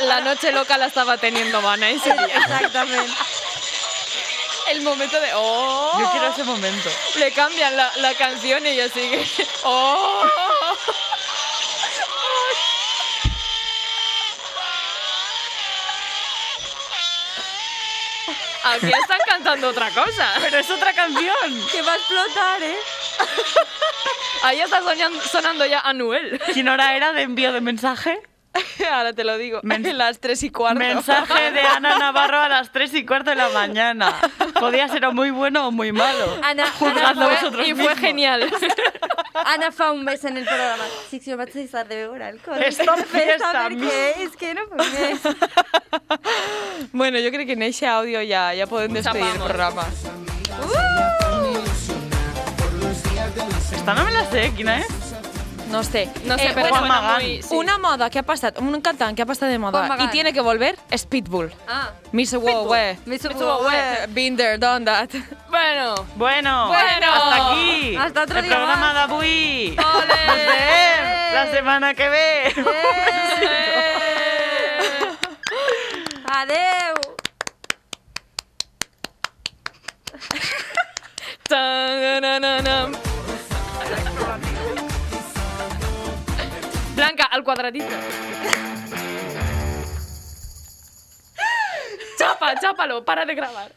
S1: La noche loca la estaba teniendo
S2: (laughs)
S1: Vana ese día.
S4: Exactamente.
S2: el momento de oh,
S3: Yo quiero ese momento.
S1: Le cambian la, la canción y ella sigue. (laughs) ¡Oh! Aquí están cantando otra cosa.
S3: Pero es otra canción.
S4: Que va a explotar, ¿eh?
S1: Ahí está soñan- sonando ya Anuel. (laughs)
S3: ¿Quién hora era de envío de mensaje?
S2: ahora te lo digo,
S3: Mens-
S2: las tres y cuarto.
S3: Mensaje de Ana Navarro a las 3 y cuarto de la mañana. Podía ser o muy bueno o muy malo.
S4: Ana, Ana
S3: Juzgadlo
S4: fue-
S3: vosotros
S1: y fue
S3: mismos.
S1: genial.
S4: Ana fa un mes en el programa. Sí, sí, vaig deixar de beure alcohol.
S3: Esta
S4: Ves
S3: fiesta,
S4: a ver
S3: mi-
S4: qué es, que no puedes.
S2: (laughs) Bueno, yo creo que en ese audio ya, ya pueden despedir el
S1: Chapamos.
S2: programa.
S3: Esta no me la sé, ¿eh? ¿quién es?
S2: No sé.
S1: No sé,
S2: Eh,
S1: pero
S2: bueno,
S1: suena
S3: Magán.
S1: muy... sí.
S2: Una moda que ha pasado, un cantante que ha pasado de
S4: Juan
S2: moda y
S4: Magán.
S2: tiene que volver es Pitbull.
S4: Ah,
S2: Miss Wow, we.
S4: me
S1: subo,
S4: subo.
S1: güey.
S2: Been there, done that.
S1: Bueno,
S3: Bueno,
S1: Bueno.
S3: hasta aquí.
S4: Hasta otro
S3: el
S4: día
S3: programa
S4: más.
S3: de avui. Nos
S1: ole.
S3: veiem la semana que ve.
S1: (laughs) Eh.
S4: Adeu.
S1: Tanananam. Blanca, al cuadradito. Chapa, chápalo, para de grabar.